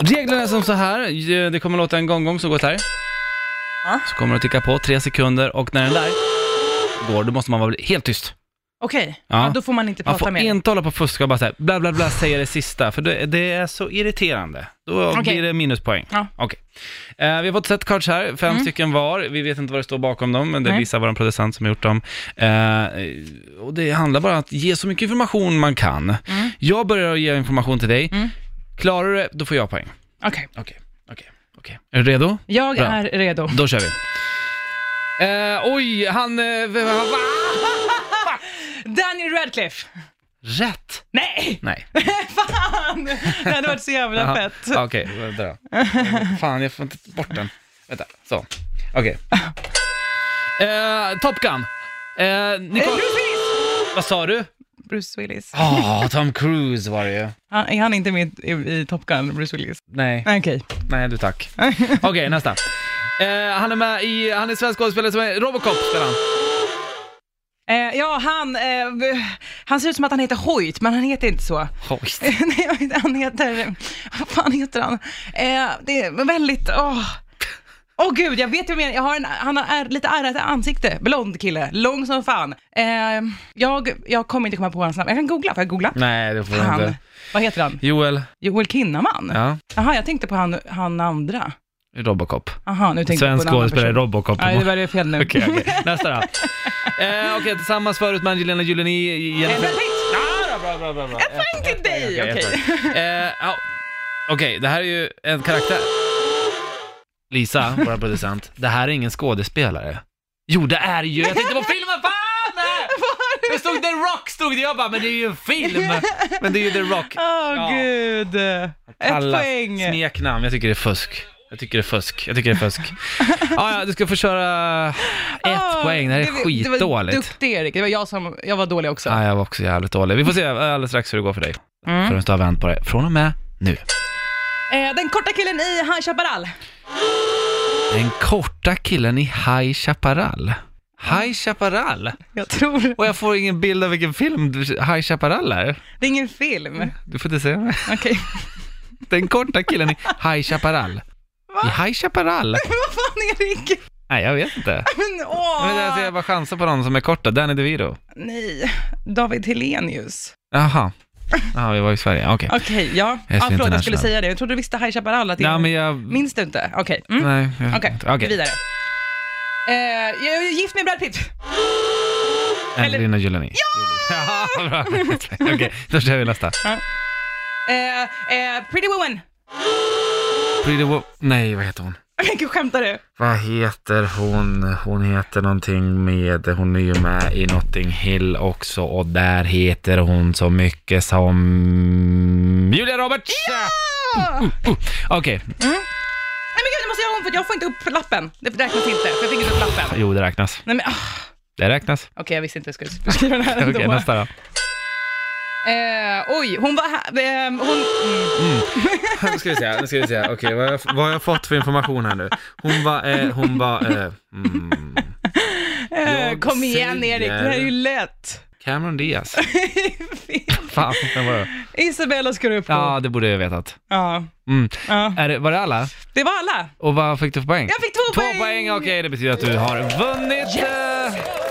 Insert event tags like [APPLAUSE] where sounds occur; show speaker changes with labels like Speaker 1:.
Speaker 1: Reglerna är som så här, det kommer låta en gonggong som går här.
Speaker 2: Ja.
Speaker 1: Så kommer det att ticka på tre sekunder och när den där går, då måste man vara helt tyst.
Speaker 2: Okej,
Speaker 1: Ja.
Speaker 2: ja. då får man inte
Speaker 1: Man
Speaker 2: prata
Speaker 1: får
Speaker 2: mer.
Speaker 1: inte hålla på och fuska och bara säga bla bla bla, säga det sista, för det, det är så irriterande. Då
Speaker 2: Okej.
Speaker 1: blir det minuspoäng.
Speaker 2: Ja.
Speaker 1: Okej. Eh, vi har fått set cards här, fem
Speaker 2: Mm.
Speaker 1: stycken var. Vi vet inte vad det står bakom dem, men det är
Speaker 2: Nej.
Speaker 1: Lisa, vår producent, som har gjort dem. Eh, och det handlar bara om att ge så mycket information man kan.
Speaker 2: Mm.
Speaker 1: Jag börjar ge information till dig.
Speaker 2: Mm.
Speaker 1: Klarar du det, då får jag poäng.
Speaker 2: Okej,
Speaker 1: Okej, okej, okej. Är du redo?
Speaker 2: jag
Speaker 1: Bra.
Speaker 2: är redo.
Speaker 1: Då kör vi. Eh, oj, han... Eh, va, va, va?
Speaker 2: Daniel Radcliffe!
Speaker 1: Rätt!
Speaker 2: Nej! [LAUGHS]
Speaker 1: Nej.
Speaker 2: Fan! Det hade varit så jävla
Speaker 1: Jaha.
Speaker 2: fett.
Speaker 1: Ja, Okej, vänta då. Fan, jag får inte bort den. Vänta, så. Okej. Eh, Top Gun. Eh,
Speaker 2: Eh,
Speaker 1: Nicole,
Speaker 2: Bruce Willis!
Speaker 1: vad sa du?
Speaker 2: Bruce Willis.
Speaker 1: Ah, Tom Cruise var det ju.
Speaker 2: Han, är han inte med i, i Top Gun, Bruce Willis?
Speaker 1: Nej,
Speaker 2: Nej, Okej.
Speaker 1: nej du tack. Okej, nästa. Eh, han är med i, han är svensk skådespelare som är Robocop, spelar han.
Speaker 2: Eh, ja, han, eh, v- han ser ut som att han heter Hoyt, men han heter inte så. [LAUGHS]
Speaker 1: Hoist.
Speaker 2: Nej, jag vet inte, han heter... Vad fan heter han? Eh, det är väldigt... Åh, Åh, gud, jag vet ju mer. Jag har en, han har är, lite ärrat ansikte. Blond kille, lång som fan. Eh, jag, jag kommer inte komma på hans namn. Jag kan googla, får jag googla?
Speaker 1: Nej, det får du
Speaker 2: Han.
Speaker 1: inte.
Speaker 2: Vad heter han?
Speaker 1: Joel.
Speaker 2: Joel Kinnaman?
Speaker 1: Ja.
Speaker 2: Jaha, jag tänkte på han, han andra.
Speaker 1: Robocop.
Speaker 2: Jaha, nu tänkte jag på
Speaker 1: Svensk
Speaker 2: en annan
Speaker 1: skådespelare i
Speaker 2: person.
Speaker 1: Robocop.
Speaker 2: Nej, det var det fel
Speaker 1: [LAUGHS]
Speaker 2: nu.
Speaker 1: Okej,
Speaker 2: [LAUGHS]
Speaker 1: okej. Nästa då. Eh, Okej, tillsammans förut med Angelina Jolie, Jennifer...
Speaker 2: Edward Pitt.
Speaker 1: Ja, då, bra, bra, bra, bra. Ett
Speaker 2: poäng till dig,
Speaker 1: Okej,
Speaker 2: [LAUGHS]
Speaker 1: Eh, ja. Okej, det här är ju en karaktär. Lisa, vår producent, det här är ingen skådespelare. Jo, det är ju... Jag tänkte på filmen,
Speaker 2: [LAUGHS]
Speaker 1: fan! Det stod The Rock, stod det. Jag bara, men det är ju en film!
Speaker 2: [LAUGHS]
Speaker 1: Men det är ju The Rock.
Speaker 2: Åh
Speaker 1: Ja.
Speaker 2: gud! Ett
Speaker 1: Alla
Speaker 2: poäng!
Speaker 1: Smeknamn, jag tycker det är fusk. Jag tycker det är fusk, jag tycker det är fusk.
Speaker 2: [LAUGHS]
Speaker 1: ah, ja, du ska få köra ett
Speaker 2: Åh,
Speaker 1: poäng, det här är
Speaker 2: Ah, Det var
Speaker 1: skitdåligt.
Speaker 2: duktig Erik, det var jag som, jag var dålig också.
Speaker 1: Ja, jag var också jävligt dålig. Vi får se alldeles strax hur det går för dig.
Speaker 2: Mm.
Speaker 1: Förrän du har vänt på det. Från och med nu.
Speaker 2: Eh, den korta killen i High Chaparral.
Speaker 1: Den korta killen i High Chaparral. High Chaparral?
Speaker 2: Jag tror,
Speaker 1: Och jag får ingen bild av vilken film du- High Chaparral är.
Speaker 2: det är ingen film.
Speaker 1: Du får inte säga mig.
Speaker 2: Okej. [LAUGHS]
Speaker 1: Den korta killen i High Chaparral. I High Chaparral?
Speaker 2: Vad fan Erik?
Speaker 1: Nej, jag vet
Speaker 2: [LAUGHS]
Speaker 1: inte.
Speaker 2: Men åh!
Speaker 1: Men alltså, jag ser bara chansa på någon som är korta. Danny DeVito.
Speaker 2: Nej, David Helenius.
Speaker 1: Jaha. Ja, vi var i Sverige. Okej.
Speaker 2: Okej, ja.
Speaker 1: Jag är
Speaker 2: ja.
Speaker 1: så
Speaker 2: Förlåt, jag skulle
Speaker 1: internationell.
Speaker 2: säga det. Jag trodde du visste High Chaparral. Att det
Speaker 1: Nej, men jag...
Speaker 2: Minns du inte? Okej. Mm.
Speaker 1: Nej. jag-
Speaker 2: Okej,
Speaker 1: Okej.
Speaker 2: vidare. Eh, jag är gift med Brad Pitt.
Speaker 1: Angelina Jolie. Ja! [LAUGHS] bra. Okej, då kör vi nästa.
Speaker 2: Eh, eh, pretty Woman. [LAUGHS]
Speaker 1: Pretty Wo- Nej, vad heter hon?
Speaker 2: Men gud, skämtar du?
Speaker 1: Vad heter hon? Hon heter någonting med, hon är ju med i Notting Hill också och där heter hon så mycket som Julia Roberts!
Speaker 2: Ah!
Speaker 1: Uh, [LAUGHS] Okej,
Speaker 2: Nej men gud, jag måste göra om för jag får inte upp lappen. Det räknas inte, för jag fick inte upp lappen.
Speaker 1: jo det räknas.
Speaker 2: Nej men, ah.
Speaker 1: Det räknas.
Speaker 2: okej jag visste inte hur jag skulle skriva den
Speaker 1: [LAUGHS]
Speaker 2: här
Speaker 1: Okej,
Speaker 2: ändå.
Speaker 1: nästa då.
Speaker 2: eh, oj, hon var här, ehm, hon, mm,
Speaker 1: Nu ska vi se, nu ska vi se. Okej, vad, har jag- vad har jag fått för information här nu? Hon var, eh, hon var, eh, mm,
Speaker 2: eh,
Speaker 1: Jag
Speaker 2: kom igen Erik, det här är ju lätt.
Speaker 1: Cameron
Speaker 2: [LAUGHS]
Speaker 1: Diaz. Fan, vem var det?
Speaker 2: Isabella ska du upp på. Ja.
Speaker 1: Ja, det borde jag vetat.
Speaker 2: Ja.
Speaker 1: Mm. Är det, var det alla?
Speaker 2: Det var alla.
Speaker 1: Och vad fick du för poäng?
Speaker 2: Jag fick två,
Speaker 1: Två poäng, okej det betyder att du har vunnit! eh,